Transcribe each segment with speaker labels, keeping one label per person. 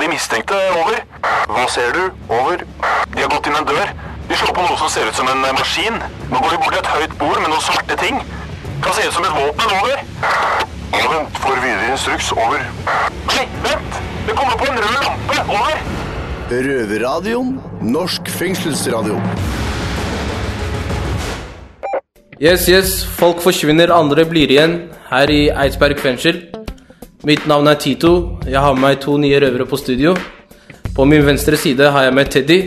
Speaker 1: De mistenkte. Over. Hva ser du? Over. De har gått inn en dør. De slår på noe som ser ut som en eh, maskin. Nå går de bort til et høyt bord med noen svarte ting. Kan se ut som et våpen. Over. Vent, får videre instruks. Over. Nei, vent! Det kommer på en rød lampe. Over.
Speaker 2: Røverradioen. Norsk fengselsradio.
Speaker 3: Yes, yes, folk forsvinner, andre blir igjen her i Eidsberg fengsel. Mitt navn er Tito. Jeg har med meg to nye røvere på studio. På min venstre side har jeg med Teddy.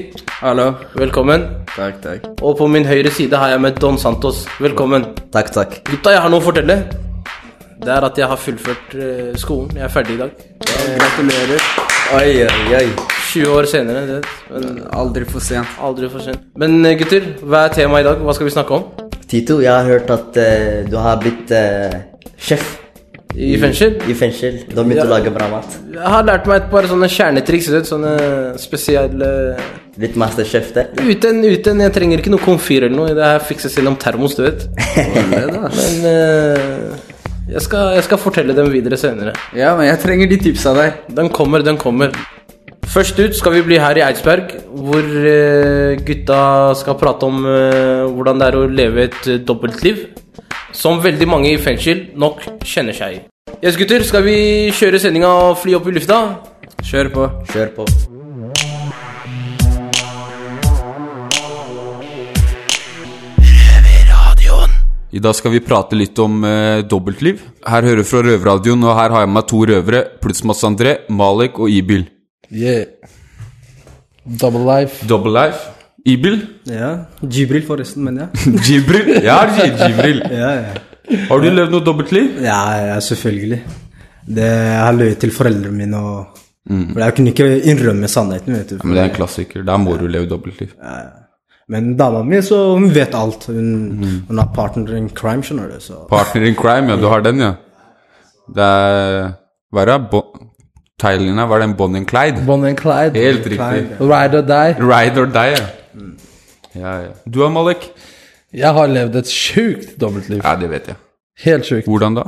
Speaker 4: Hallo.
Speaker 3: Velkommen.
Speaker 4: Takk, takk.
Speaker 3: Og på min høyre side har jeg med Don Santos. Velkommen.
Speaker 4: Takk, takk.
Speaker 3: Gutta, jeg har noe å fortelle. Det er at jeg har fullført eh, skolen. Jeg er ferdig i dag.
Speaker 4: Gratulerer. Oi, oi, oi.
Speaker 3: 20 år senere. Det, men
Speaker 4: Aldri for sent.
Speaker 3: aldri for sent. Men eh, gutter, hva er temaet i dag? Hva skal vi snakke om?
Speaker 5: Tito, jeg har hørt at eh, du har blitt eh, sjef
Speaker 3: I fengsel?
Speaker 5: I fengsel. Du har begynt
Speaker 3: Ja.
Speaker 5: å lage bra mat.
Speaker 3: Jeg har lært meg et par sånne kjernetriks. du vet, Sånne spesielle
Speaker 5: Blitt masterchef, det.
Speaker 3: Uten, uten, jeg trenger ikke noe komfyr eller noe. Det her fikses gjennom termos, du vet. Sånn Men eh, jeg, skal, jeg skal fortelle dem videre senere.
Speaker 4: Ja, men jeg trenger de tipsa der.
Speaker 3: Den kommer, den kommer. Først ut skal vi bli her i Eidsberg, hvor eh, gutta skal prate om eh, hvordan det er å leve et eh, dobbeltliv. Som veldig mange i fengsel nok kjenner seg i. Yes, gutter, skal vi kjøre sendinga og fly opp i lufta?
Speaker 4: Kjør på.
Speaker 5: Kjør på.
Speaker 6: I dag skal vi prate litt om eh, dobbeltliv. Her hører fra Røverradioen, og her har jeg med meg to røvere, pluss Mads André, Malek og Ibil.
Speaker 7: Yeah. Double life.
Speaker 6: Double life. Ibil?
Speaker 8: Ja. Jibril, forresten, mener jeg.
Speaker 6: Jibril? Ja, J- Jibril.
Speaker 8: Ja, ja.
Speaker 6: Har du levd noe dobbeltliv?
Speaker 8: ja, ja selvfølgelig. Det, jeg har løyet til foreldrene mine og
Speaker 7: Mm.
Speaker 8: For jeg kunne ikke innrømme sannheten, vet du.
Speaker 6: Mm. Ja, men det er en klassiker. Der må du leve dobbeltliv.
Speaker 8: Men dama mi, så hun vet alt. Hun, hun har partner in crime, skjønner du. Så.
Speaker 6: Mm. Partner in crime, ja. Du har den, ja. Det er Hva er det? Bo Thailand, Hva er den? Bonnie and Clyde?
Speaker 7: Bonnie and Clyde.
Speaker 6: Helt riktig.
Speaker 7: Ride or die. Mm.
Speaker 6: Ride or die, ja. Ja, ja. Du da, Malek?
Speaker 7: Jeg har levd et sjukt dobbeltliv.
Speaker 6: Ja, det vet jeg.
Speaker 7: Helt sjukt.
Speaker 6: Hvordan da?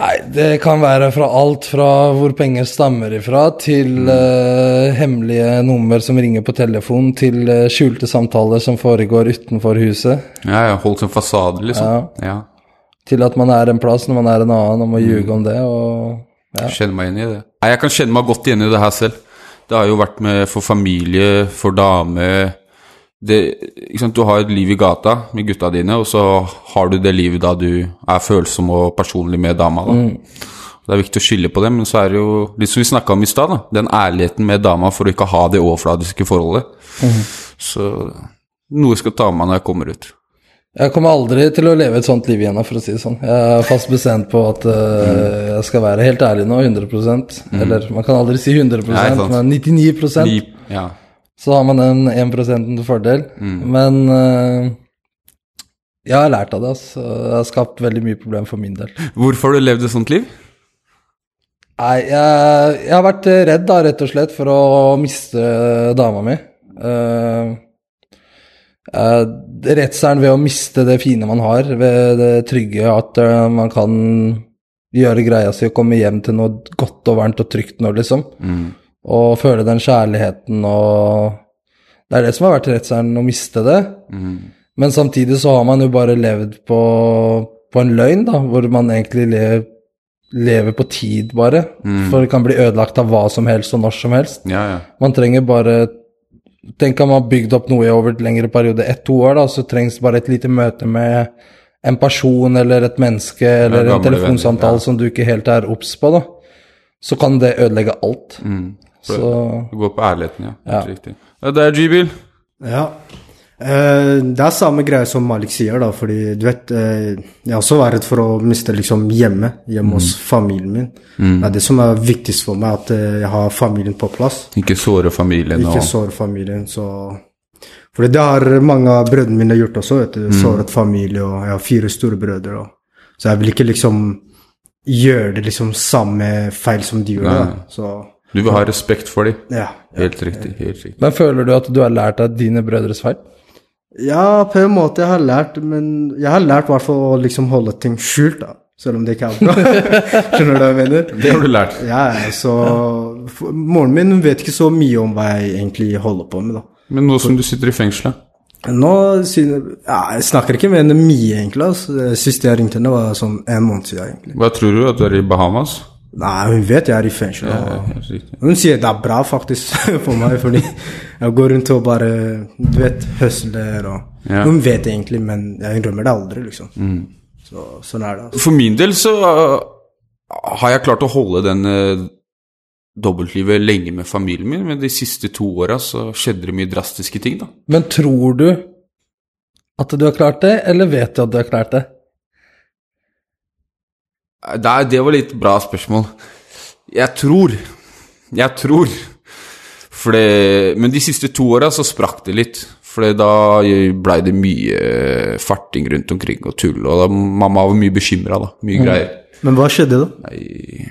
Speaker 7: Nei, det kan være fra alt fra hvor penger stammer ifra, til eh, hemmelige nummer som ringer på telefon, til eh, skjulte samtaler som foregår utenfor huset,
Speaker 6: Ja, ja, Holdt som fasade, liksom? Ja.
Speaker 7: til at man er en plass når man er en annen, og må ljuge om det, og ja.
Speaker 6: Jeg kjenner meg igjen i det. Nei, jeg kan kjenne meg godt igjen i det her selv. Det har jo vært med for familie, for dame det, ikke sant? Du har et liv i gata med gutta dine, og så har du det livet da du er følsom og personlig med dama. Da. Det er viktig å skille på det, men så er det jo litt som vi snakka om i stad, da, den ærligheten med dama for å ikke ha det overfladiske forholdet. Så noe jeg skal ta med meg når jeg kommer ut.
Speaker 7: Jeg kommer aldri til å leve et sånt liv igjen, for å si det sånn. Jeg er fast bestemt på at eh,
Speaker 6: Mm.
Speaker 7: jeg skal være helt ærlig nå, 100 Eller man kan aldri si 100
Speaker 6: Nei, sant.
Speaker 7: men 99
Speaker 6: Ni- Ja. Mm.
Speaker 7: Så har man den 1 til fordel. Men eh, jeg har lært av det, altså. Det har skapt veldig mye problem for min del.
Speaker 6: Hvorfor har du levd et sånt liv?
Speaker 7: Nei, jeg, jeg har vært eh, redd, da, rett og slett, for å miste dama mi. Eh, Eh, redselen ved å miste det fine man har, ved det trygge at eh, man kan gjøre greia si og komme hjem til noe godt og varmt og trygt nå, liksom. Og føle den kjærligheten og Det er det som har vært redselen, å miste det. Men samtidig så har man jo bare levd på, på en løgn, da, hvor man egentlig lever, lever på tid, bare. For det kan bli ødelagt av hva som helst og når som helst.
Speaker 6: Mm. Ja, ja.
Speaker 7: Man trenger bare Tenk om man har bygd opp noe i over et lengre periode, ett-to år, da, så trengs det bare et lite møte med en person eller et menneske eller en
Speaker 6: gamle venner,
Speaker 7: telefonsamtale
Speaker 6: ja.
Speaker 7: som du ikke helt er obs på, da. Så kan det ødelegge alt.
Speaker 6: Mm.
Speaker 7: Så
Speaker 6: Du går på ærligheten, ja. Helt riktig. Ja, det er G-bil.
Speaker 8: Ja. Eh, det er samme greie som Malik sier, da, fordi du vet eh, Jeg har også var redd for å miste liksom hjemmet, hjemme hos
Speaker 6: Mm.
Speaker 8: familien min. Det er det som er viktigst for meg, at eh, jeg har familien på plass.
Speaker 6: Ikke såre familien
Speaker 8: Ikke
Speaker 6: og
Speaker 8: sår familien, så Fordi det har mange av brødrene mine gjort også, vet du.
Speaker 6: Mm.
Speaker 8: Såret familie, og jeg har fire store brødre. Og. Så jeg vil ikke liksom gjøre det liksom samme feil som de gjorde.
Speaker 6: Nei.
Speaker 8: da. Så
Speaker 6: Du vil ha respekt for dem.
Speaker 8: ja.
Speaker 6: Helt riktig. helt riktig.
Speaker 7: Men føler du at du har lært av dine brødres feil?
Speaker 8: Ja, på en måte jeg har lært, men jeg har lært i hvert fall å liksom holde ting skjult, da. Selv om det ikke er bra. Skjønner du hva jeg mener?
Speaker 6: Det har du lært.
Speaker 8: Ja, ja, så for- Moren min hun vet ikke så mye om hva jeg egentlig holder på med, da.
Speaker 6: Men nå som du sitter i fengselet
Speaker 8: Nå syn- ja, Jeg snakker ikke med henne mye, egentlig. Altså. Sist jeg ringte henne, var sånn en måned siden. egentlig.
Speaker 6: Hva tror du? At du er i Bahamas?
Speaker 8: Nei, hun vet jeg er i fengsel. og-
Speaker 6: Helt riktig.
Speaker 8: Hun sier det er bra, faktisk, for meg, fordi jeg går rundt og bare Du vet, høsler og
Speaker 6: Ja. Mm.
Speaker 8: Hun vet egentlig, men jeg innrømmer det aldri, liksom. Så, sånn er det. altså.
Speaker 6: For min del så øh, har jeg klart å holde den øh, dobbeltlivet lenge med familien min, men de siste to åra så skjedde det mye drastiske ting, da.
Speaker 7: Men tror du at du har klart det, eller vet du at du har klart det?
Speaker 6: Det, er- det var litt bra spørsmål. Jeg tror Jeg tror. For det, men de siste to åra så sprakk det litt. For da blei det mye eh, farting rundt omkring og tull, og da, mamma var mye bekymra, da. Mye
Speaker 8: Mm.
Speaker 6: greier.
Speaker 8: Men hva skjedde da?
Speaker 6: Nei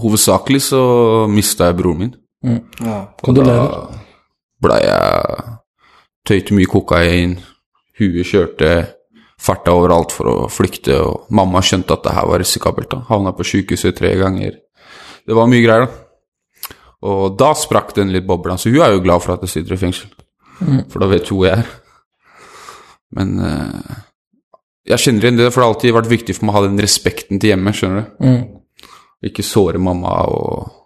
Speaker 6: Hovedsakelig så mista jeg broren min.
Speaker 7: Mm. Kondolerer.
Speaker 6: blei jeg Tøyte mye kokain, huet kjørte, farta overalt for å flykte, og mamma skjønte at det her var risikabelt, da. Havna på sjukehuset tre ganger. Det var mye greier, da. Og da sprakk den litt bobla, så hun er jo glad for at jeg sitter i fengsel. For da vet hun hvor jeg er. Men eh, jeg kjenner igjen det, for det har alltid vært viktig for meg å ha den respekten til hjemmet, skjønner du. Ikke såre mamma og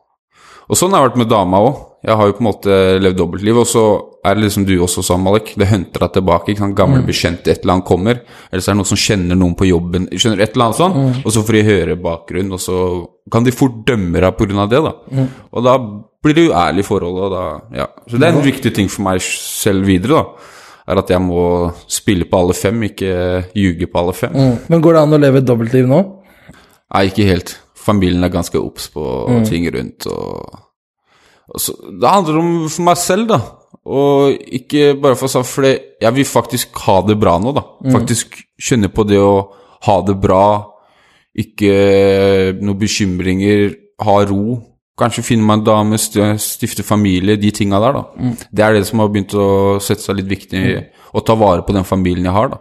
Speaker 6: og sånn har det vært med dama òg. Jeg har jo på en måte levd dobbeltliv, og så er det liksom du også sa, Malik. Det hunter deg tilbake. ikke sant? Gamle bekjente, et eller annet kommer. Eller så er det noen som kjenner noen på jobben, skjønner du, et eller annet sånn. Og så får de høre bakgrunn, og så kan de fort dømme deg pga. det, da. Og da blir det uærlig forhold, og da Ja. Så det er en viktig ting for meg selv videre, da. Er at jeg må spille på alle fem, ikke ljuge på alle fem.
Speaker 7: Mm. Men går det an å leve et dobbeltliv nå?
Speaker 6: Nei, ikke helt. Familien er ganske obs på ting rundt og, og så, Det handler om for meg selv, da. Og ikke bare for sånn, for det- jeg vil faktisk ha det bra nå, da. Faktisk kjenne på det å ha det bra, ikke noen bekymringer, ha ro. Kanskje finne meg en dame, st- stifte familie, de tinga der, da. Det er det som har begynt å sette seg litt viktig, å ta vare på den familien jeg har, da.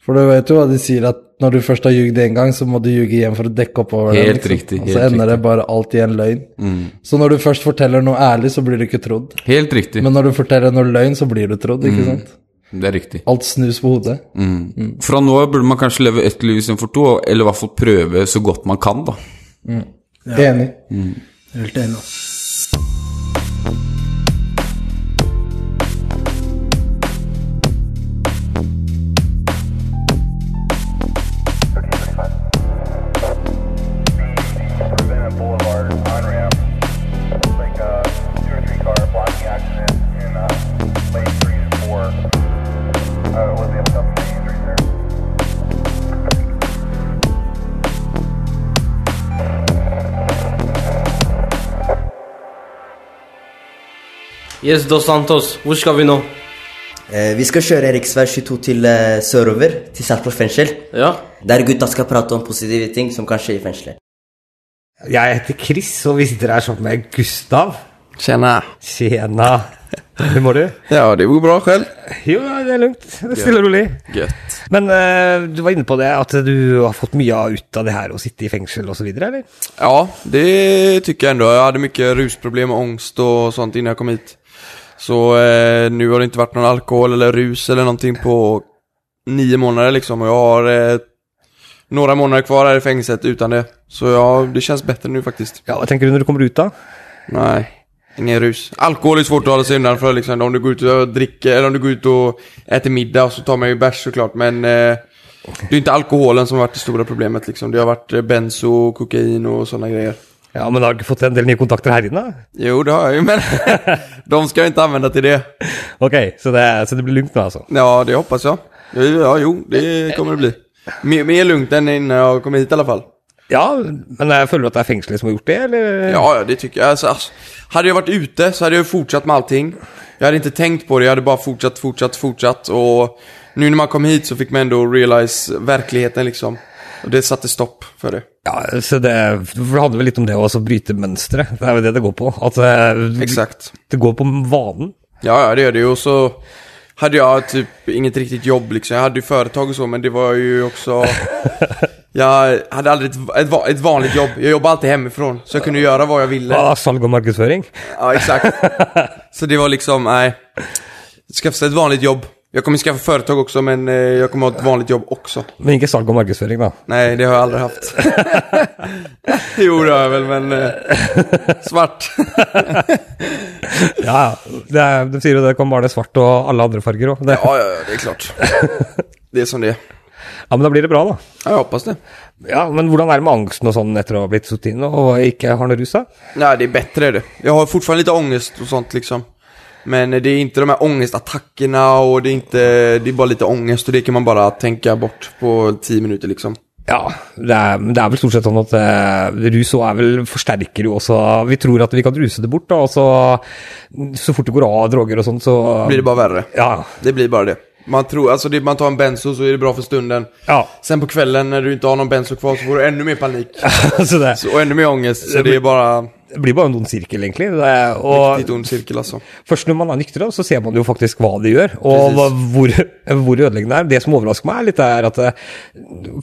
Speaker 7: For du vet jo hva de sier, at når du først har ljugd én gang, så må du ljuge igjen for å dekke opp over det. liksom.
Speaker 6: Helt riktig,
Speaker 7: Og så
Speaker 6: helt
Speaker 7: ender det bare alltid i en løgn. Så når du først forteller noe ærlig, så blir du ikke trodd.
Speaker 6: Helt riktig.
Speaker 7: Men når du forteller noe løgn, så blir du trodd, ikke sant?
Speaker 6: det er riktig.
Speaker 7: Alt snus på hodet.
Speaker 6: Mm. Fra nå av burde man kanskje leve ett liv istedenfor to, eller i hvert fall prøve så godt man kan, da.
Speaker 7: Enig.
Speaker 6: Mm.
Speaker 8: Helt enig. altså.
Speaker 3: Yes, Dos Santos, hvor skal vi nå?
Speaker 5: Eh, vi skal kjøre rv. 22 til eh, sørover, til Sarpsborg fengsel.
Speaker 3: Ja,
Speaker 5: Der gutta skal prate om positive ting som kan skje i fengselet.
Speaker 9: Jeg heter Chris, og hvis dere er sammen med Gustav
Speaker 10: Tjena.
Speaker 9: Tjena. Hvor må du?
Speaker 10: Ja, det går bra själv.
Speaker 9: Jo, det er lugnt. Det er Stille og rolig.
Speaker 10: Gött.
Speaker 9: Men eh, du var inne på det, at du har fått mye ut av det her å sitte i fengsel osv., eller?
Speaker 10: Ja, det tycker jag ändå. Jag hade mycket rusproblem och ångest och sånt innan jag kom hit. Så eh, nu har det inte varit någon alkohol eller rus eller någonting på nio månader liksom. Och jag har eh, några månader kvar här i fängelset utan det. Så ja, det känns bättre nu faktiskt.
Speaker 9: Ja, Hva tenker du når du kommer ut, da?
Speaker 10: Nej, ingen rus. Alkohol är svårt att hålla sig undan för liksom. Om du går ut och dricker eller om du går ut och äter middag så tar man ju bärs såklart. Men eh, det är inte alkoholen som har varit det stora problemet liksom. Det har varit eh, benzo, kokain och sådana grejer.
Speaker 9: Ja, men har du ikke fått en del nye kontakter her inne? da?
Speaker 10: Jo, det har jag ju, men de ska jag inte använda till det.
Speaker 9: Ok, så det, så det blir lugnt nå, altså?
Speaker 10: Ja, det hoppas jag. Ja, Ja, jo,
Speaker 9: Eh,
Speaker 10: det kommer det bli. Mer, mer lugnt än innan jag kom hit i alla fall.
Speaker 9: Ja, men jeg føler du at det er fengselet som har gjort det, eller?
Speaker 10: Ja, ja, det tycker jag. Alltså, alltså, hade jag varit ute så hade jag ju fortsatt med allting. Jag hade inte tänkt på det, jag hade bara fortsatt, fortsatt, fortsatt. Och nu när man kom hit så fick man ändå realize verkligheten liksom. Och det satte stopp för det.
Speaker 9: Ja, så det, for det handler vel litt om det å også bryte mønstre. Det er jo det det går på. At eh,
Speaker 10: Exakt.
Speaker 9: det går på vanen.
Speaker 10: Ja, ja, det gör det ju. Och så hade jag typ eh, inget riktigt jobb liksom. Jag hade ju företag och så, men det var ju också... Jag hade aldrig ett, ett, va- ett vanligt jobb. Jag jobbade alltid hemifrån. Så jag kunde göra vad jag ville.
Speaker 9: Ja, salg og markedsføring.
Speaker 10: Ja, exakt. Så det var liksom, nej. Skaffa sig ett vanligt jobb. Jag kommer skaffa företag också, men eh, jag kommer ha ett vanligt jobb också.
Speaker 9: Men ikke salg og markedsføring, da.
Speaker 10: Nej, det har jag aldrig haft. jo, det har jag väl, men... eh, svart.
Speaker 9: Ja, det er, De sier jo det kan bare det svart og alle andre farger òg.
Speaker 10: Ja, ja, ja, det är klart. Det är som det är.
Speaker 9: sånn Ja, men da blir det bra, da.
Speaker 10: Ja, jag hoppas det.
Speaker 9: Ja, Men hvordan er det med angsten og sånn etter å ha blitt sittet inne og ikke har noe rus? da?
Speaker 10: Nej, det är bättre är det. Jag har fortfarande lite ångest och sånt liksom. Men eh, det är inte de här ångestattackerna och det är inte... Det är bara lite ångest och det kan man bara tänka bort på 10 minuter liksom.
Speaker 9: Ja, det er, men det er vel stort sett sånn at eh, rus også er vel forsterker jo også Vi tror at vi kan ruse det bort, da, og så Så fort det går av droger og sånn, så
Speaker 10: Blir det bara värre.
Speaker 9: Ja.
Speaker 10: Det blir bara det. Man tror, alltså det, man tar en benzo så är det bra för stunden.
Speaker 9: Ja.
Speaker 10: Sen på kvällen när du inte har någon benzo kvar så får du ännu mer panik.
Speaker 9: så det,
Speaker 10: Så, och ännu mer ångest. Så det är bara
Speaker 9: det blir bare en ond sirkel, egentlig. Det er, og
Speaker 10: riktigt ond cirkel alltså.
Speaker 9: Først når man er nykter, da, så ser man jo faktisk hva de gjør, og hva,
Speaker 10: Precis.
Speaker 9: hvor, hvor ødeleggende det er. Det som overrasker meg litt, er at eh,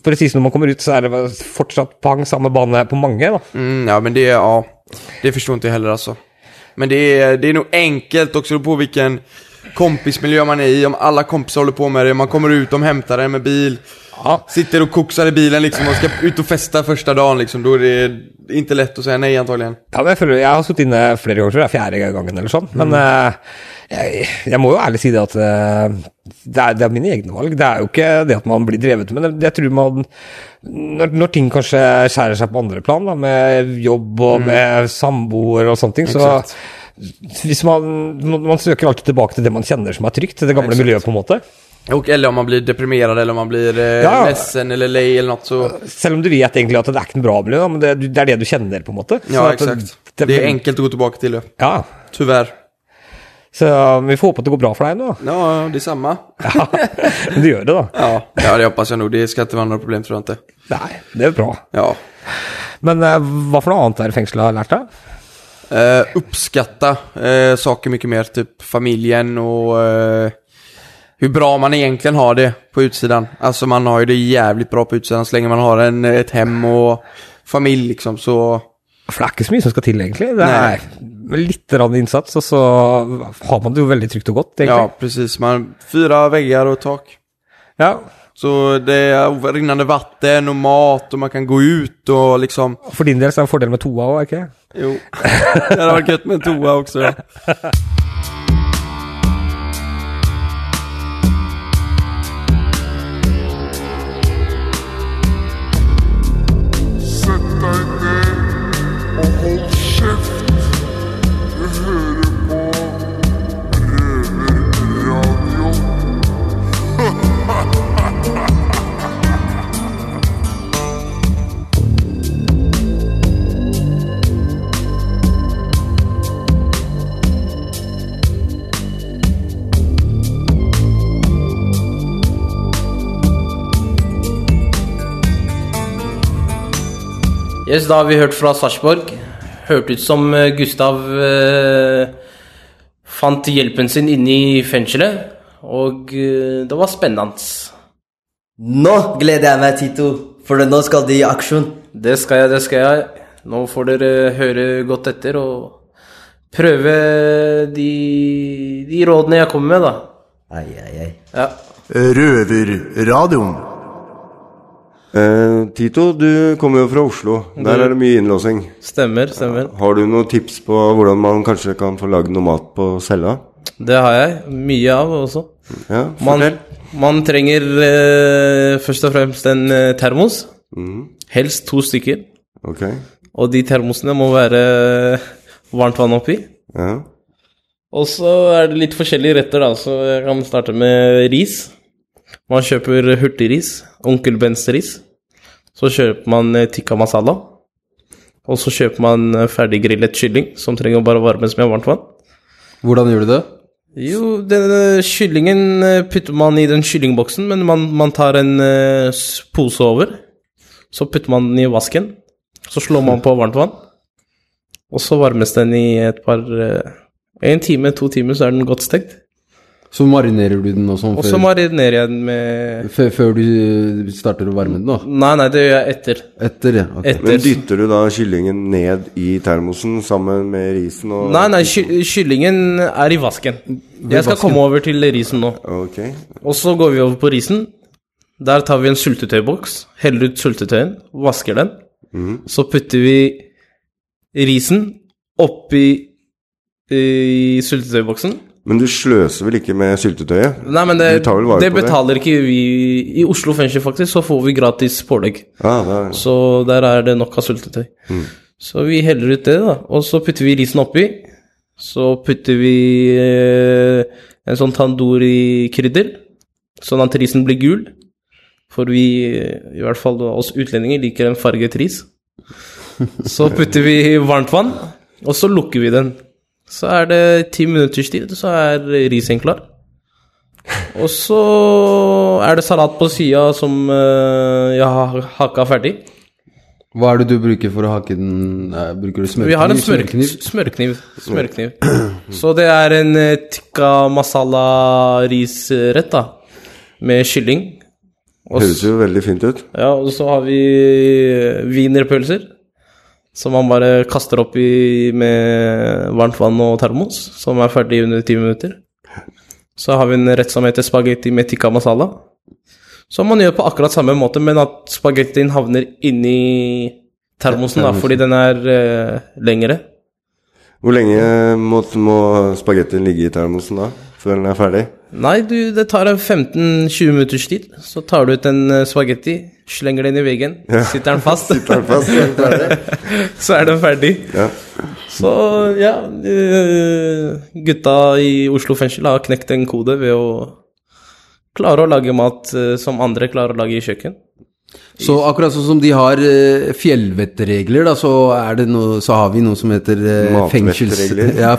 Speaker 9: presis sånn, når man kommer ut, så er det fortsatt pang, samme bane på mange. da.
Speaker 10: Mm, ja men det, ja. Det förstår inte jag heller alltså. Men det är, det är nog enkelt också det beror på vilken kompismiljö man är i. Om alla kompisar håller på med det, man kommer ut, de hämtar en med bil.
Speaker 9: Ja.
Speaker 10: Sitter och koksar i bilen liksom och ska ut och festa första dagen liksom. Då är det inte lätt att säga nej antagligen.
Speaker 9: Ja, men jeg, føler, jeg har sittet inne flere ganger, tror jeg. Fjerde gangen eller sånn. Men eh,
Speaker 10: Mm.
Speaker 9: jeg, jeg må jo ærlig si det at eh, det, er, det er mine egne valg. Det er jo ikke det at man blir drevet med. men Jeg tror man når, når ting kanskje skjærer seg på andre plan, da, med jobb og
Speaker 10: Mm.
Speaker 9: med samboer og sånne ting, så
Speaker 10: Exakt.
Speaker 9: hvis man, man- man søker alltid tilbake til det man kjenner som er trygt, til det gamle
Speaker 10: Exakt.
Speaker 9: miljøet, på en måte.
Speaker 10: Och, eller om man blir deprimerad eller om man blir eh,
Speaker 9: Ja.
Speaker 10: ledsen eller lej eller något så...
Speaker 9: Selv om du vet egentlig at det er ikke noe bra miljø, da, men det, det er det du kjenner, på en måte.
Speaker 10: Ja,
Speaker 9: at det-
Speaker 10: exakt. Det, är enkelt att gå tillbaka till det.
Speaker 9: Ja.
Speaker 10: Tyvärr.
Speaker 9: Så um, vi får håpe at det går bra for deg nå.
Speaker 10: Ja, ja, det är samma.
Speaker 9: Men det gjør det, da.
Speaker 10: Ja. ja, det hoppas jeg nog. Det ska inte vara några problem tror jag inte.
Speaker 9: Nei, det er bra.
Speaker 10: Ja.
Speaker 9: Men eh, hva for noe annet er det fengselet har lært deg?
Speaker 10: Eh, uppskatta eh, saker mycket mer, typ familjen och eh, hur bra man egentligen har det på utsidan. Alltså man har ju det jävligt bra på utsidan så länge man har en, ett hem og familj liksom så...
Speaker 9: For det er ikke så mye som skal til, egentlig. Det
Speaker 10: Nei.
Speaker 9: er litt rann innsats, og så har man det jo veldig trygt og godt,
Speaker 10: Ja,
Speaker 9: egentlig.
Speaker 10: precis. Man, fyra väggar och tak.
Speaker 9: Ja.
Speaker 10: Så det är rinnande vatten och mat og man kan gå ut og liksom
Speaker 9: For din del så er det en fordel med toa òg, ikke
Speaker 10: Jo. Det hade varit gött med en toa också ja.
Speaker 3: Yes, da har vi hørt fra Sarpsborg. Hørte ut som eh, Gustav eh, fant hjelpen sin inne i fengselet. Og eh, det var spennende.
Speaker 5: Nå gleder jeg meg, Tito, for nå skal de i aksjon.
Speaker 3: Det skal jeg, det skal jeg. Nå får dere eh, høre godt etter og prøve de, de rådene jeg kommer med, da.
Speaker 5: Ai, ai, ai.
Speaker 3: Ja.
Speaker 2: Røverradioen.
Speaker 11: Eh, Tito, du kommer jo fra Oslo. Der er det mye innlåsing. Eh,
Speaker 3: Stemmer, stemmer.
Speaker 11: Har du noen tips på hvordan man kanskje kan få lagd noe mat på cella?
Speaker 3: Det har jeg. Mye av også.
Speaker 11: Ja,
Speaker 3: Man,
Speaker 11: fortell.
Speaker 3: man trenger eh, først og fremst en eh, termos.
Speaker 11: Mhm.
Speaker 3: Helst to stykker.
Speaker 11: Ok.
Speaker 3: Og de termosene må være eh, varmt vann oppi.
Speaker 11: Ja.
Speaker 3: Og så er det litt forskjellige retter, da. Så jeg kan starte med ris. Man kjøper hurtigris. Onkel Bens ris. Så kjøper man eh, tikka masala. Og så kjøper man eh, ferdiggrillet kylling, som trenger å bare varmes med varmt vann.
Speaker 4: Hvordan gjør du det?
Speaker 3: Jo, denne kyllingen eh, putter man i den kyllingboksen, men man, man tar en eh, s- pose over. Så putter man den i vasken. Så slår man på varmt vann. Og så varmes den i et par eh, En time, to timer, så er den godt stekt.
Speaker 4: Så marinerer du den og sånn
Speaker 3: Og så
Speaker 4: før,
Speaker 3: marinerer jeg den med
Speaker 4: før, før du eh, starter å varme den? da?
Speaker 3: Nei, nei, det gjør jeg etter.
Speaker 4: Etter, ja. ok.
Speaker 3: Etter.
Speaker 11: Men dytter du da kyllingen ned i termosen sammen med risen og
Speaker 3: Nei, nei, ky kyllingen er i vasken. Jeg skal
Speaker 11: vasken.
Speaker 3: komme over til risen nå.
Speaker 11: Ok.
Speaker 3: Og så går vi over på risen. Der tar vi en syltetøyboks, heller ut syltetøyen, vasker den.
Speaker 11: Mhm.
Speaker 3: Så putter vi risen oppi eh, i syltetøyboksen.
Speaker 11: Men du sløser vel ikke med syltetøyet?
Speaker 3: Nei, men det,
Speaker 11: du tar vel vare
Speaker 3: det
Speaker 11: på
Speaker 3: betaler ikke vi I Oslo fengsel, faktisk, så får vi gratis pålegg.
Speaker 11: Ja, Ah, det er-
Speaker 3: Så der er det nok av syltetøy.
Speaker 11: Mm.
Speaker 3: Så vi heller ut det, da. Og så putter vi risen oppi. Så putter vi eh, en sånn tandoori-krydder, sånn at risen blir gul. For vi, eh, i hvert fall da, oss utlendinger, liker en farget ris. Så putter vi varmt vann, og så lukker vi den. Så er det ti minutters tid, så er risen klar. Og så er det salat på sida som eh, jeg har hakka ferdig.
Speaker 4: Hva er det du bruker for å hakke den eh, Bruker du smørkniv?
Speaker 3: Vi har en smørkniv. Smørkniv. smørkniv. Så det er en eh, tikka masala-risrett, da. Med kylling. Og
Speaker 11: Høres jo veldig fint ut.
Speaker 3: Ja, og så har vi wienerpølser. Som man bare kaster opp i med varmt vann og termos. Som er ferdig under ti minutter. Så har vi en rett som heter spagetti med tikka masala. Som man gjør på akkurat samme måte, men at spagettien havner inni termosen, da,
Speaker 11: Termosen.
Speaker 3: fordi den er eh, lengre.
Speaker 11: Hvor lenge må, må spagettien ligge i termosen da? Før den er ferdig?
Speaker 3: Nei, du, det tar en 15-20 minutters tid. Så tar du ut en eh, spagetti, slenger den i veggen,
Speaker 11: Ja.
Speaker 3: sitter den fast.
Speaker 11: Sitter den fast, så er den ferdig.
Speaker 3: så er den ferdig. Så ja, eh, gutta i Oslo fengsel har knekt en kode ved å klare å lage mat eh, som andre klarer å lage i kjøkken.
Speaker 4: Så akkurat sånn som de har eh, fjellvettregler, da, så, er det noe, så har vi noe som heter eh, fengsels,
Speaker 11: Matvettregler.
Speaker 4: ja,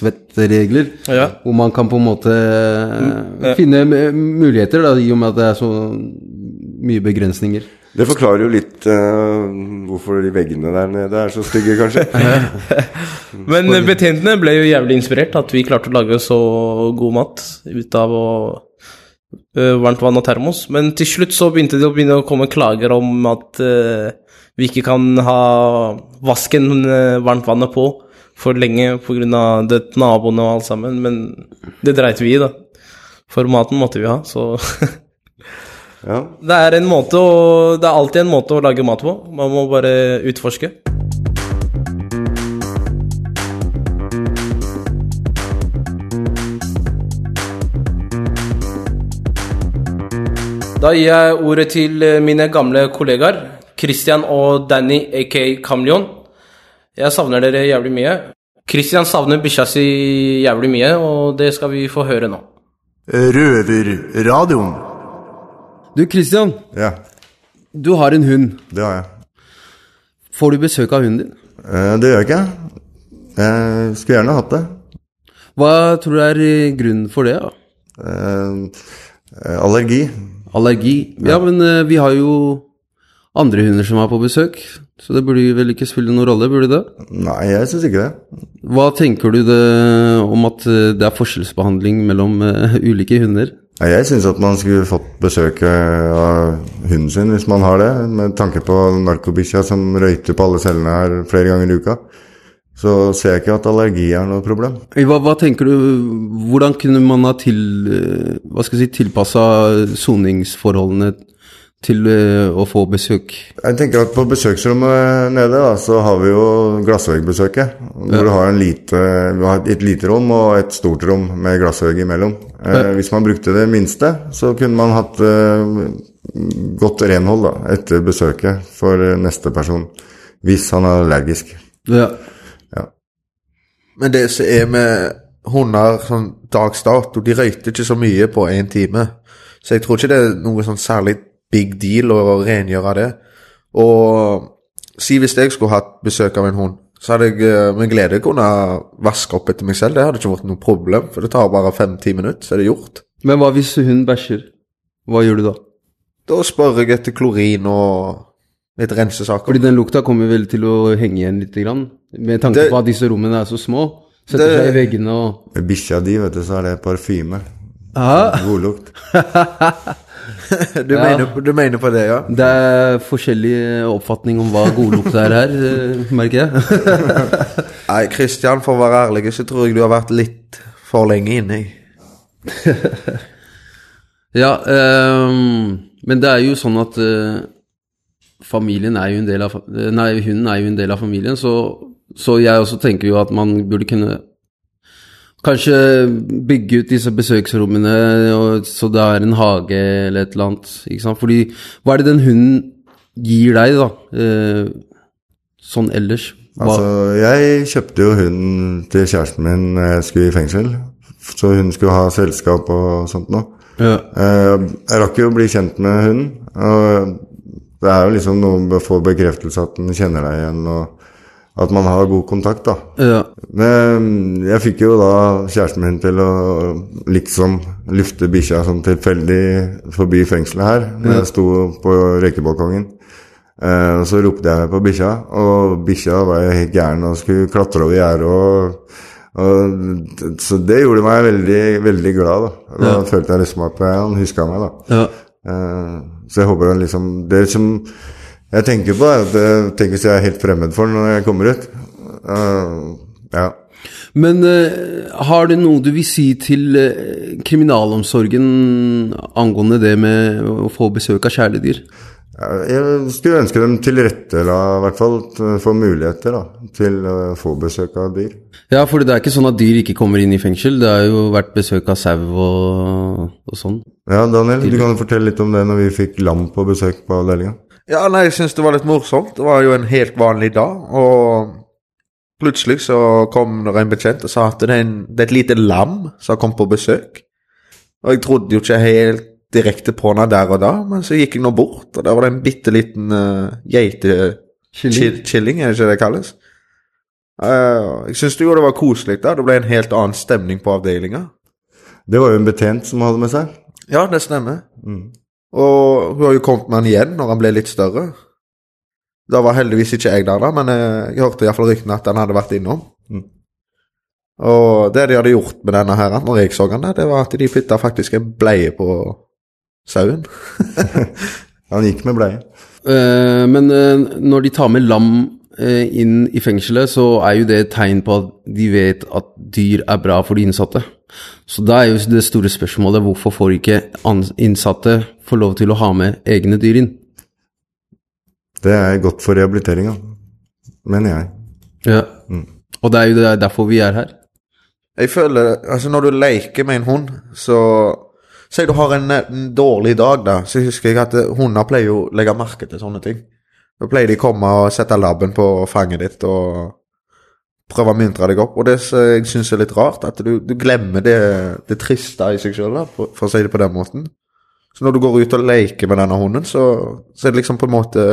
Speaker 4: fengselsvettregler.
Speaker 3: Ja. Mm,
Speaker 4: Hvor man kan på en måte eh, finne eh, muligheter, da, i og med at det er så mye begrensninger.
Speaker 11: Det forklarer jo litt eh, hvorfor de veggene der nede er så stygge, kanskje.
Speaker 3: Men betjentene ble jo jævlig inspirert at vi klarte å lage så god mat ut av å ø, varmt vann og termos. Men til slutt så begynte det å begynne å komme klager om at ø, vi ikke kan ha vasken ø, varmt vannet på for lenge pga. naboene og alt sammen. Men det dreit vi i, da. For maten måtte vi ha, så Det er en måte å Det er alltid en måte å lage mat på. Man må bare utforske. Da gir jeg ordet til eh, mine gamle kollegaer, Christian og Danny aka Kameleon. Jeg savner dere jævlig mye. Christian savner bikkja si jævlig mye, og det skal vi få høre nå.
Speaker 2: Røverradioen.
Speaker 4: Du Christian,
Speaker 12: Ja.
Speaker 4: du har en hund.
Speaker 12: Det har jeg.
Speaker 4: Får du besøk av hunden din?
Speaker 12: Eh, det gjør jeg ikke. Jeg skulle gjerne hatt det.
Speaker 4: Hva tror du er eh, grunnen for det? da?
Speaker 12: Eh, allergi.
Speaker 4: Allergi? Ja, men eh, vi har jo andre hunder som er på besøk, så det burde vel ikke spille noen rolle, burde det?
Speaker 12: Nei, jeg syns ikke det.
Speaker 4: Hva tenker du det, om at eh, det er forskjellsbehandling mellom eh, ulike hunder?
Speaker 12: Nei, Jeg syns at man skulle fått besøk eh, av hunden sin hvis man har det, med tanke på narkobikkja som røyter på alle cellene her flere ganger i uka. Så ser jeg ikke at allergi er noe problem.
Speaker 4: Hva, hva tenker du, hvordan kunne man ha til, eh, hva skal jeg si, tilpassa soningsforholdene til eh, å få besøk?
Speaker 12: Jeg tenker at på besøksrommet nede da, så har vi jo glassveggbesøket. Hvor du har, en lite, vi har et lite rom og et stort rom med glassvegg imellom. Eh,
Speaker 4: Ja.
Speaker 12: hvis man brukte det minste, så kunne man hatt eh, godt renhold da, etter besøket for eh, neste person. Hvis han er allergisk.
Speaker 4: Ja.
Speaker 13: Men det som er med hunder sånn dags dato, de røyter ikke så mye på én time. Så jeg tror ikke det er noe sånn særlig big deal å rengjøre det. Og si hvis jeg skulle hatt besøk av en hund, så hadde jeg eh, med glede kunne vaske opp etter meg selv. Det hadde ikke vært noe problem, for det tar bare fem-ti minutter, så er det gjort.
Speaker 4: Men hva hvis hun bæsjer? Hva gjør du da?
Speaker 13: Da spør jeg etter klorin og litt rensesaker.
Speaker 4: Fordi den lukta kommer vel til å henge igjen litt, grann, med tanke
Speaker 13: Det-
Speaker 4: på at disse rommene er så små. Setter
Speaker 13: Det-
Speaker 4: seg i veggene og
Speaker 12: Med bikkja di, vet du, så er det parfyme. Godlukt.
Speaker 13: Du,
Speaker 4: Ja.
Speaker 13: mener, du mener på det, ja?
Speaker 4: Det er forskjellig oppfatning om hva godlukt er her, eh, merker jeg.
Speaker 13: Nei, Christian, for å være ærlig, så tror jeg du har vært litt for lenge inne i.
Speaker 4: Ja, ehm, men det er jo sånn at eh, familien er jo en del av fa- eh, Nei, hunden er jo en del av familien, så, så jeg også tenker jo at man burde kunne Kanskje bygge ut disse besøksrommene og, så det er en hage eller et eller annet. Ikke sant? Fordi hva er det den hunden gir deg, da? eh, sånn ellers? Hva,
Speaker 12: Altså, jeg kjøpte jo hunden til kjæresten min når jeg skulle i fengsel. Så hun skulle ha selskap og sånt noe.
Speaker 4: Ja.
Speaker 12: Eh, Jeg rakk jo å bli kjent med hunden. Og det er jo liksom noe med å få bekreftelse at den kjenner deg igjen, og at man har god kontakt, da.
Speaker 4: Ja.
Speaker 12: Men jeg fikk jo da kjæresten min til å liksom lufte bikkja sånn tilfeldig forbi fengselet her. Når
Speaker 4: Ja.
Speaker 12: jeg sto på røykebalkongen. Eh, og så ropte jeg på bikkja, og bikkja var jo helt gæren og skulle klatre over gjerdet. Og, og, så det gjorde meg veldig, veldig glad. Da, da
Speaker 4: Ja.
Speaker 12: følte jeg liksom at han huska meg. da
Speaker 4: Ja.
Speaker 12: Eh, Så jeg håper han liksom Det som jeg tenker på, er at eh, tenk hvis jeg er helt fremmed for den når jeg kommer ut. Eh, ja.
Speaker 4: Men eh, har du noe du vil si til eh, kriminalomsorgen angående det med å få besøk av kjæledyr?
Speaker 12: Jeg skulle ønske dem tilrettela, i hvert fall t- for muligheter da, til å få besøk av dyr.
Speaker 4: Ja, for det er ikke sånn at dyr ikke kommer inn i fengsel. Det har jo vært besøk av sau og, og sånn.
Speaker 12: Ja, Daniel, du kan jo fortelle litt om det når vi fikk lam på besøk på avdelinga.
Speaker 13: Ja, nei, jeg syns det var litt morsomt. Det var jo en helt vanlig dag, og plutselig så kom det en bekjent og sa at det er, en, det er et lite lam som har kommet på besøk. Og jeg trodde jo ikke helt direkte på henne der og da, men så gikk jeg nå bort, og der var det en bitte liten eh, geite... Killing. Killing, er det ikke det det kalles? Eh, jeg syns jo det var koselig der. Det ble en helt annen stemning på avdelinga.
Speaker 12: Det var jo en betjent som hadde med seg.
Speaker 13: Ja, det stemmer.
Speaker 12: Mm.
Speaker 13: Og hun har jo kommet med han igjen når han ble litt større. Da var heldigvis ikke jeg der, da, men eh, jeg hørte iallfall ryktene at han hadde vært innom.
Speaker 12: Mm.
Speaker 13: Og det de hadde gjort med denne her, når jeg så han der, det var at de flytta faktisk en bleie på sauen.
Speaker 12: han gikk med bleie.
Speaker 4: Eh, men eh, når de tar med lam eh, inn i fengselet, så er jo det et tegn på at de vet at dyr er bra for de innsatte. Så da er jo det store spørsmålet hvorfor får ikke ans- innsatte få lov til å ha med egne dyr inn?
Speaker 12: Det er godt for rehabiliteringa, mener jeg. Mm.
Speaker 4: Ja. Og det er jo det- derfor vi er her.
Speaker 13: Jeg føler Altså, når du leker med en hund, så Si du har en, eh, en dårlig dag, da, så husker jeg at eh, hunder pleier jo å legge merke til sånne ting. Da pleier de å komme og sette labben på fanget ditt og prøve å muntre deg opp. Og det som jeg syns er litt rart, at du, du glemmer det, det triste i seg sjøl, for, for å si det på den måten. Så når du går ut og leker med denne hunden, så, så er det liksom på en måte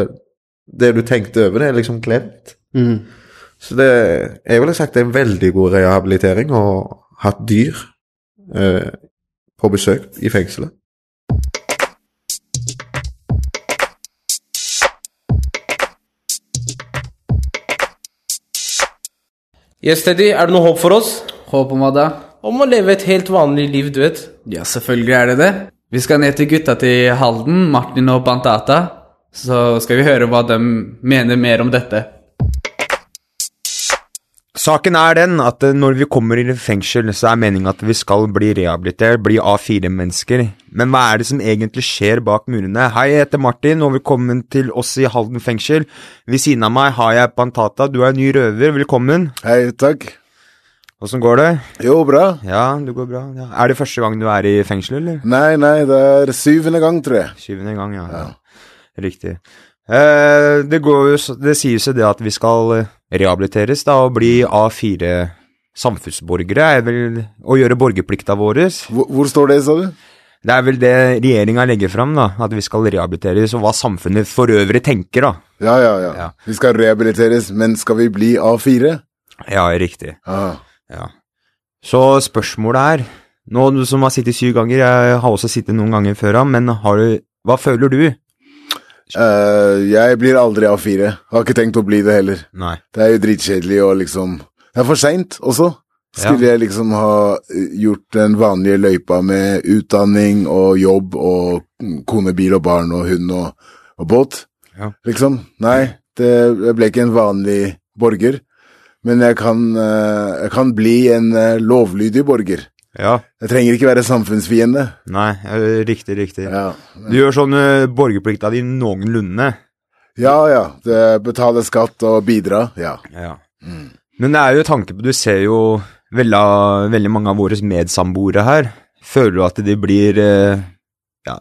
Speaker 13: Det du tenkte over, det er liksom glemt.
Speaker 4: Mm.
Speaker 13: Så det Jeg ville sagt det er en veldig god rehabilitering å ha hatt dyr eh, på besøk i fengselet.
Speaker 3: Yes, Teddy, er det noe håp for oss?
Speaker 14: Håp om hva da?
Speaker 3: Om å leve et helt vanlig liv, du vet.
Speaker 14: Ja, selvfølgelig er det det. Vi skal ned til gutta til Halden, Martin og Bantata. Så skal vi høre hva de mener mer om dette.
Speaker 15: Saken er den at eh, når vi kommer i fengsel, så er meningen at vi skal bli rehabilitert, bli A4-mennesker. Men hva er det som egentlig skjer bak murene? Hei, jeg heter Martin, og velkommen til oss i Halden fengsel. Ved siden av meg har jeg Pantata, du er ny røver, velkommen. Hei, takk. Åssen går det? Jo, bra. Ja, det går bra. Ja. Er det første gang du er i fengsel, eller?
Speaker 16: Nei, nei, det er syvende gang, tror jeg.
Speaker 15: Syvende gang, ja. Riktig. Eh, det, går jo, s- det sies jo det at vi skal eh, rehabiliteres da, og bli A4 samfunnsborgere, er vel å gjøre borgerplikta vår. Hvor, står det, sa du? Det er vel det regjeringa legger fram, da, at vi skal rehabiliteres, og hva samfunnet for øvrig tenker, da.
Speaker 16: Ja, ja, ja. Vi skal rehabiliteres, men skal vi bli A4?
Speaker 15: Ja, riktig.
Speaker 16: Ah.
Speaker 15: Ja. Så spørsmålet er, nå du som har sittet syv ganger, jeg har også sittet noen ganger før, ja, men har du, hva føler du?
Speaker 16: Eh, jeg blir aldri A4. Har ikke tenkt å bli det heller.
Speaker 15: Nei.
Speaker 16: Det er jo dritkjedelig og liksom Det er for seint også. Skulle jeg liksom ha eh, gjort den vanlige løypa med utdanning og jobb og kone, bil og barn og hund og, og båt?
Speaker 15: Ja.
Speaker 16: Liksom. Nei, det, jeg ble ikke en vanlig borger. Men jeg kan, eh, jeg kan bli en eh, lovlydig borger.
Speaker 15: Ja.
Speaker 16: Jeg trenger ikke være samfunnsfiende.
Speaker 15: Nei, eh, riktig, riktig. Du gjør sånn eh, borgerplikta di noenlunde.
Speaker 16: Ja, ja. det- Betale skatt og bidra. Ja. Mm.
Speaker 15: Ja. Men det er jo tanke på Du ser jo veldig, av- veldig mange av våre medsamboere her. Føler du at de blir eh, ja,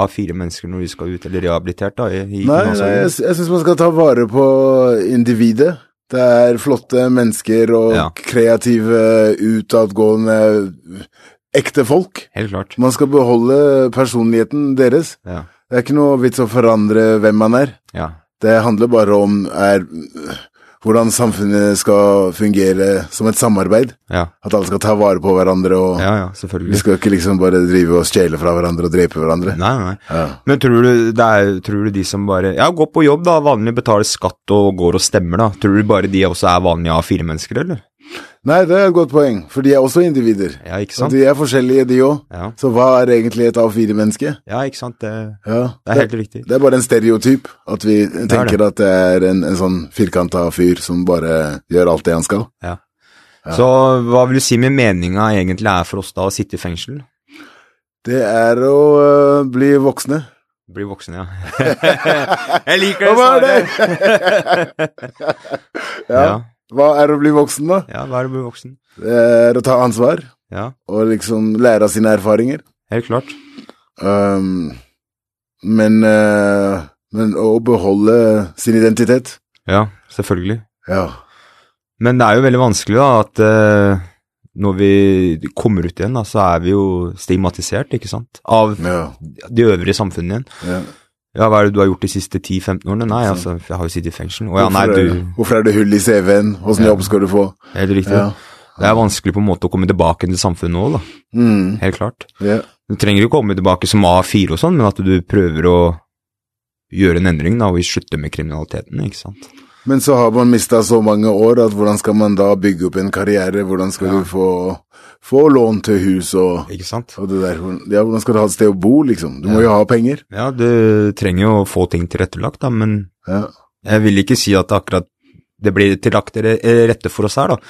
Speaker 15: A4 mennesker når de skal ut, eller rehabilitert, da? I, i
Speaker 16: Nei, nei
Speaker 15: kriminalomsorgen?
Speaker 16: jeg, sy- jeg syns man skal ta vare på individet. Det er flotte mennesker og kreative, utadgående, ekte folk.
Speaker 15: Helt klart.
Speaker 16: Man skal beholde personligheten deres.
Speaker 15: Ja.
Speaker 16: Det er ikke noe vits å forandre hvem man er.
Speaker 15: Ja.
Speaker 16: Det handler bare om er, hvordan samfunnet skal fungere som et samarbeid.
Speaker 15: Ja.
Speaker 16: At alle skal ta vare på hverandre, og vi skal ikke liksom bare drive og stjele fra hverandre og drepe hverandre.
Speaker 15: Nei, nei. Men tror du, det er, tror du de som bare Ja, går på jobb, da. Vanlig betaler skatt og går og stemmer, da. Tror du bare de også er vanlige A4-mennesker, eller?
Speaker 16: Nei, det er et godt poeng, for de er også individer.
Speaker 15: Ja, ikke sant?
Speaker 16: Og de er forskjellige, de òg. Så hva er egentlig et A4-menneske?
Speaker 15: Ja, ikke sant. Det,
Speaker 16: Ja,
Speaker 15: det er helt riktig.
Speaker 16: Det er bare en stereotyp, at vi tenker
Speaker 15: det.
Speaker 16: at det er en, en sånn firkanta fyr som bare gjør alt det han skal.
Speaker 15: Ja. Så hva vil du si med meninga egentlig er for oss da å sitte i fengsel?
Speaker 16: Det er å øh, bli voksne.
Speaker 15: Bli voksen, ja. Jeg liker det
Speaker 16: ja. ja.
Speaker 15: Ja.
Speaker 16: Hva er å bli voksen, da?
Speaker 15: Ja, hva er å bli voksen?
Speaker 16: Det er Eh, å ta ansvar.
Speaker 15: Ja.
Speaker 16: Og liksom lære av sine erfaringer. Um,
Speaker 15: Helt klart.
Speaker 16: men, eh, men å beholde sin identitet.
Speaker 15: Ja, selvfølgelig.
Speaker 16: Ja.
Speaker 15: Men det er jo veldig vanskelig da, at eh, når vi kommer ut igjen, da, så er vi jo stigmatisert, ikke sant? Av det øvrige samfunnet igjen.
Speaker 16: Ja.
Speaker 15: Ja, hva er det du har gjort de siste 10-15 årene? Nei, altså, jeg har jo sittet i fengsel. Å ja, nei,
Speaker 16: hvorfor,
Speaker 15: du...
Speaker 16: er, hvorfor er det hull i CV-en? Åssen jobb skal du få?
Speaker 15: Helt riktig.
Speaker 16: Ja.
Speaker 15: Det er vanskelig på en måte å komme tilbake til samfunnet òg, da.
Speaker 16: Mm.
Speaker 15: Helt klart.
Speaker 16: Ja.
Speaker 15: Du trenger jo ikke komme tilbake som A4 og sånn, men at du prøver å gjøre en endring, da, og slutte med kriminaliteten, ikke sant.
Speaker 16: Men så har man mista så mange år at hvordan skal man da bygge opp en karriere? Hvordan skal du få, få lån til hus og,
Speaker 15: og
Speaker 16: det der? Ja, hvordan skal du ha et sted å bo, liksom? Du må jo ha penger.
Speaker 15: Ja, du trenger jo å få ting tilrettelagt, da, men jeg vil ikke si at akkurat det blir tillagt til rette for oss her, da.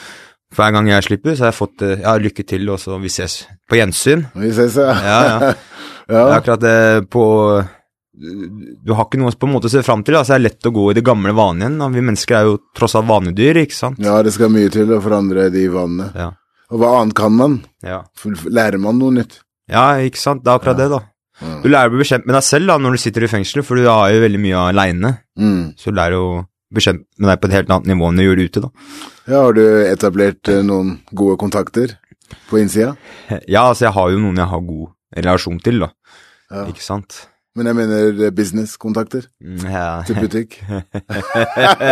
Speaker 15: For hver gang jeg slipper, så har jeg fått eh, ja, lykke til, og så vi ses på gjensyn.
Speaker 16: Vi ses, ja.
Speaker 15: ja, ja. Det er akkurat det på Du har ikke noe på en måte å se fram til, da, så det er lett å gå i det gamle vanen igjen. da. Vi mennesker er jo tross alt vanedyr, ikke sant.
Speaker 16: Ja, det skal mye til å forandre de vanene. Og hva annet kan man? F- f- Lærer man noe nytt?
Speaker 15: Ja, ikke sant. Det er akkurat det, da. Du lærer å bli bekjent med deg selv da, når du sitter i fengsel, for du har jo veldig mye aleine.
Speaker 16: Mm.
Speaker 15: Så du lærer å bli kjent med deg på et helt annet nivå enn du gjør ute, da.
Speaker 16: Ja, har du etablert eh, noen gode kontakter på innsida?
Speaker 15: Ja, altså, jeg har jo noen jeg har god relasjon til, da. Ikke sant?
Speaker 16: Men jeg mener eh, businesskontakter?
Speaker 15: Ja.
Speaker 16: Til butikk?
Speaker 15: nei,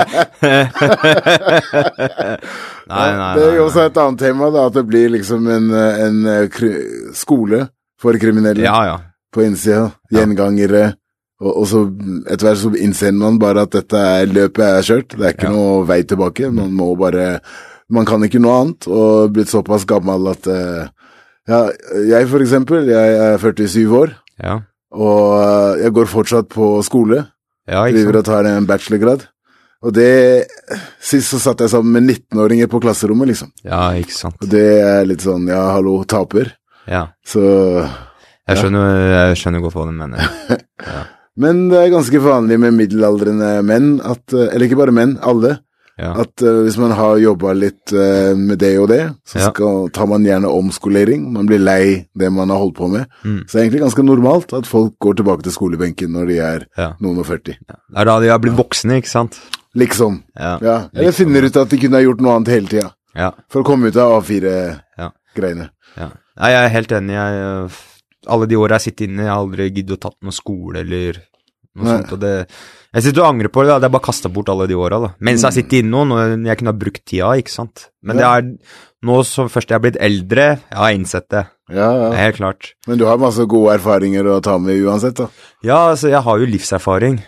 Speaker 15: nei, nei.
Speaker 16: det er jo
Speaker 15: nei.
Speaker 16: også et annet tema, da, at det blir liksom en, eh, en eh, kri skole for kriminelle
Speaker 15: Ja, ja.
Speaker 16: på innsida. Gjengangere. Og, og så etter hvert så innser man bare at dette er løpet er kjørt. Det er ikke noe vei tilbake. Man må bare Man kan ikke noe annet, og blitt såpass gammel at eh, Ja, jeg for eksempel, jeg er 47 år,
Speaker 15: Ja.
Speaker 16: og eh, jeg går fortsatt på skole.
Speaker 15: Ja, ikke
Speaker 16: Driver
Speaker 15: sant?
Speaker 16: og tar en bachelorgrad. Og det Sist så satt jeg sammen med 19-åringer på klasserommet, liksom.
Speaker 15: Ja, ikke sant.
Speaker 16: Og det er litt sånn ja, hallo, taper.
Speaker 15: Ja.
Speaker 16: Så
Speaker 15: Jeg
Speaker 16: ja.
Speaker 15: skjønner, jeg skjønner godt hva du mener.
Speaker 16: Men det er ganske vanlig med middelaldrende menn, at, eh, eller ikke bare menn, alle, at eh, hvis man har jobba litt eh, med det og det, så
Speaker 15: Ja.
Speaker 16: skal, tar man gjerne omskolering. Man blir lei det man har holdt på med.
Speaker 15: Mm.
Speaker 16: Så det er egentlig ganske normalt at folk går tilbake til skolebenken når de er noen og 40.
Speaker 15: Det er da de har blitt voksne, ikke sant?
Speaker 16: Liksom.
Speaker 15: Ja. liksom.
Speaker 16: Ja. Eller finner ut at de kunne ha gjort noe annet hele tida.
Speaker 15: Ja.
Speaker 16: For å komme ut av A4-greiene.
Speaker 15: Ja. Nei, jeg er helt enig. Jeg, øh, alle de åra jeg sitter inne, jeg har aldri giddet å tatt noe skole eller noe
Speaker 16: Nei.
Speaker 15: sånt. Og det, jeg sitter og angrer på det. da. Det er bare kasta bort alle de åra. Mens jeg sitter inne nå, når jeg kunne ha brukt tida, ikke sant. Men
Speaker 16: Mm. Ja.
Speaker 15: det er nå som først jeg er blitt eldre, jeg har innsett det. Det er Helt klart.
Speaker 16: Men du har masse gode erfaringer å ta med uansett, da.
Speaker 15: Ja, altså, jeg har jo livserfaring.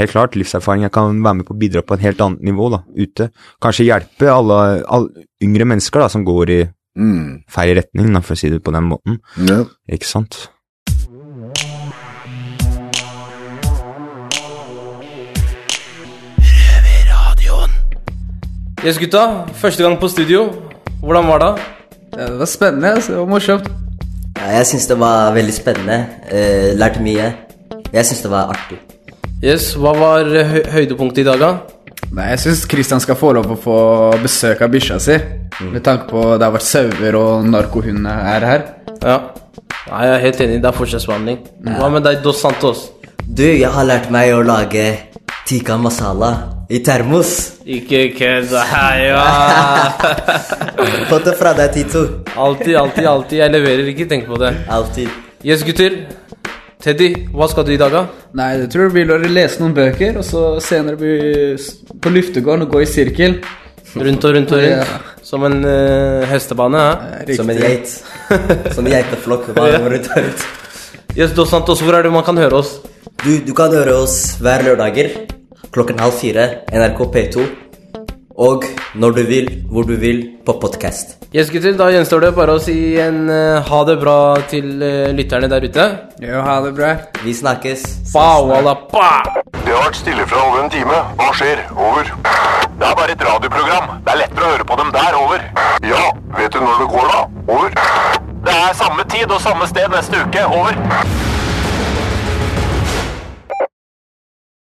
Speaker 15: helt klart livserfaring jeg kan være med på å bidra på et helt annet nivå da, ute. Kanskje hjelpe alle, alle yngre mennesker da, som går i
Speaker 16: Mm.
Speaker 15: feil retning, da, for å si det på den måten.
Speaker 16: Ja.
Speaker 15: Ikke sant?
Speaker 3: Yes, gutta. Første gang på studio. Hvordan var det?
Speaker 14: Det var spennende. altså. Det var morsomt.
Speaker 5: Ja, jeg syns det var veldig spennende. Eh, lærte mye. Jeg syns det var artig.
Speaker 3: Yes, Hva var eh, hø høydepunktet i dag, da?
Speaker 14: Nei, Jeg syns Christian skal få lov å få besøk av bikkja si. Mm. Med tanke på det har vært sauer og narkohund er her.
Speaker 3: Ja. Nei, Jeg er helt enig. Det er forskjellsbehandling. Hva med deg, Dos Santos?
Speaker 5: Du, jeg har lært meg å lage tikka masala i termos.
Speaker 3: Ikke kødd. Hei, ja.
Speaker 5: Fått det fra deg, Tito.
Speaker 3: Alltid, alltid, alltid. Jeg leverer ikke, tenk på det.
Speaker 5: Alltid.
Speaker 3: Yes, gutter. Teddy, hva skal du i dag, da?
Speaker 14: Nei, jeg tror det blir å lese noen bøker, og så senere blir på luftegården og gå i sirkel.
Speaker 3: Rundt og rundt og rundt.
Speaker 14: Ja.
Speaker 3: Som en eh, hestebane, hæ?
Speaker 5: riktig. Som en geit. Som en geiteflokk.
Speaker 3: Ja.
Speaker 5: Bare rundt og rundt.
Speaker 3: Yes, Dos Santos, hvor er det man kan høre oss?
Speaker 5: Du, du kan høre oss hver lørdager klokken halv fire, NRK P2. Og når du vil, hvor du vil, på podkast.
Speaker 3: Yes, gutter, da gjenstår det bare å si en eh, ha det bra til eh, lytterne der ute.
Speaker 14: Jo, ha det bra.
Speaker 5: Vi snakkes.
Speaker 3: Pow, alla, pow!
Speaker 1: Det har vært stille fra over en time. Hva skjer? Over. Det er bare et radioprogram. Det er lettere å høre på dem der. Over. Ja, vet du når det går, da? Over. Det er samme tid og samme sted neste uke. Over.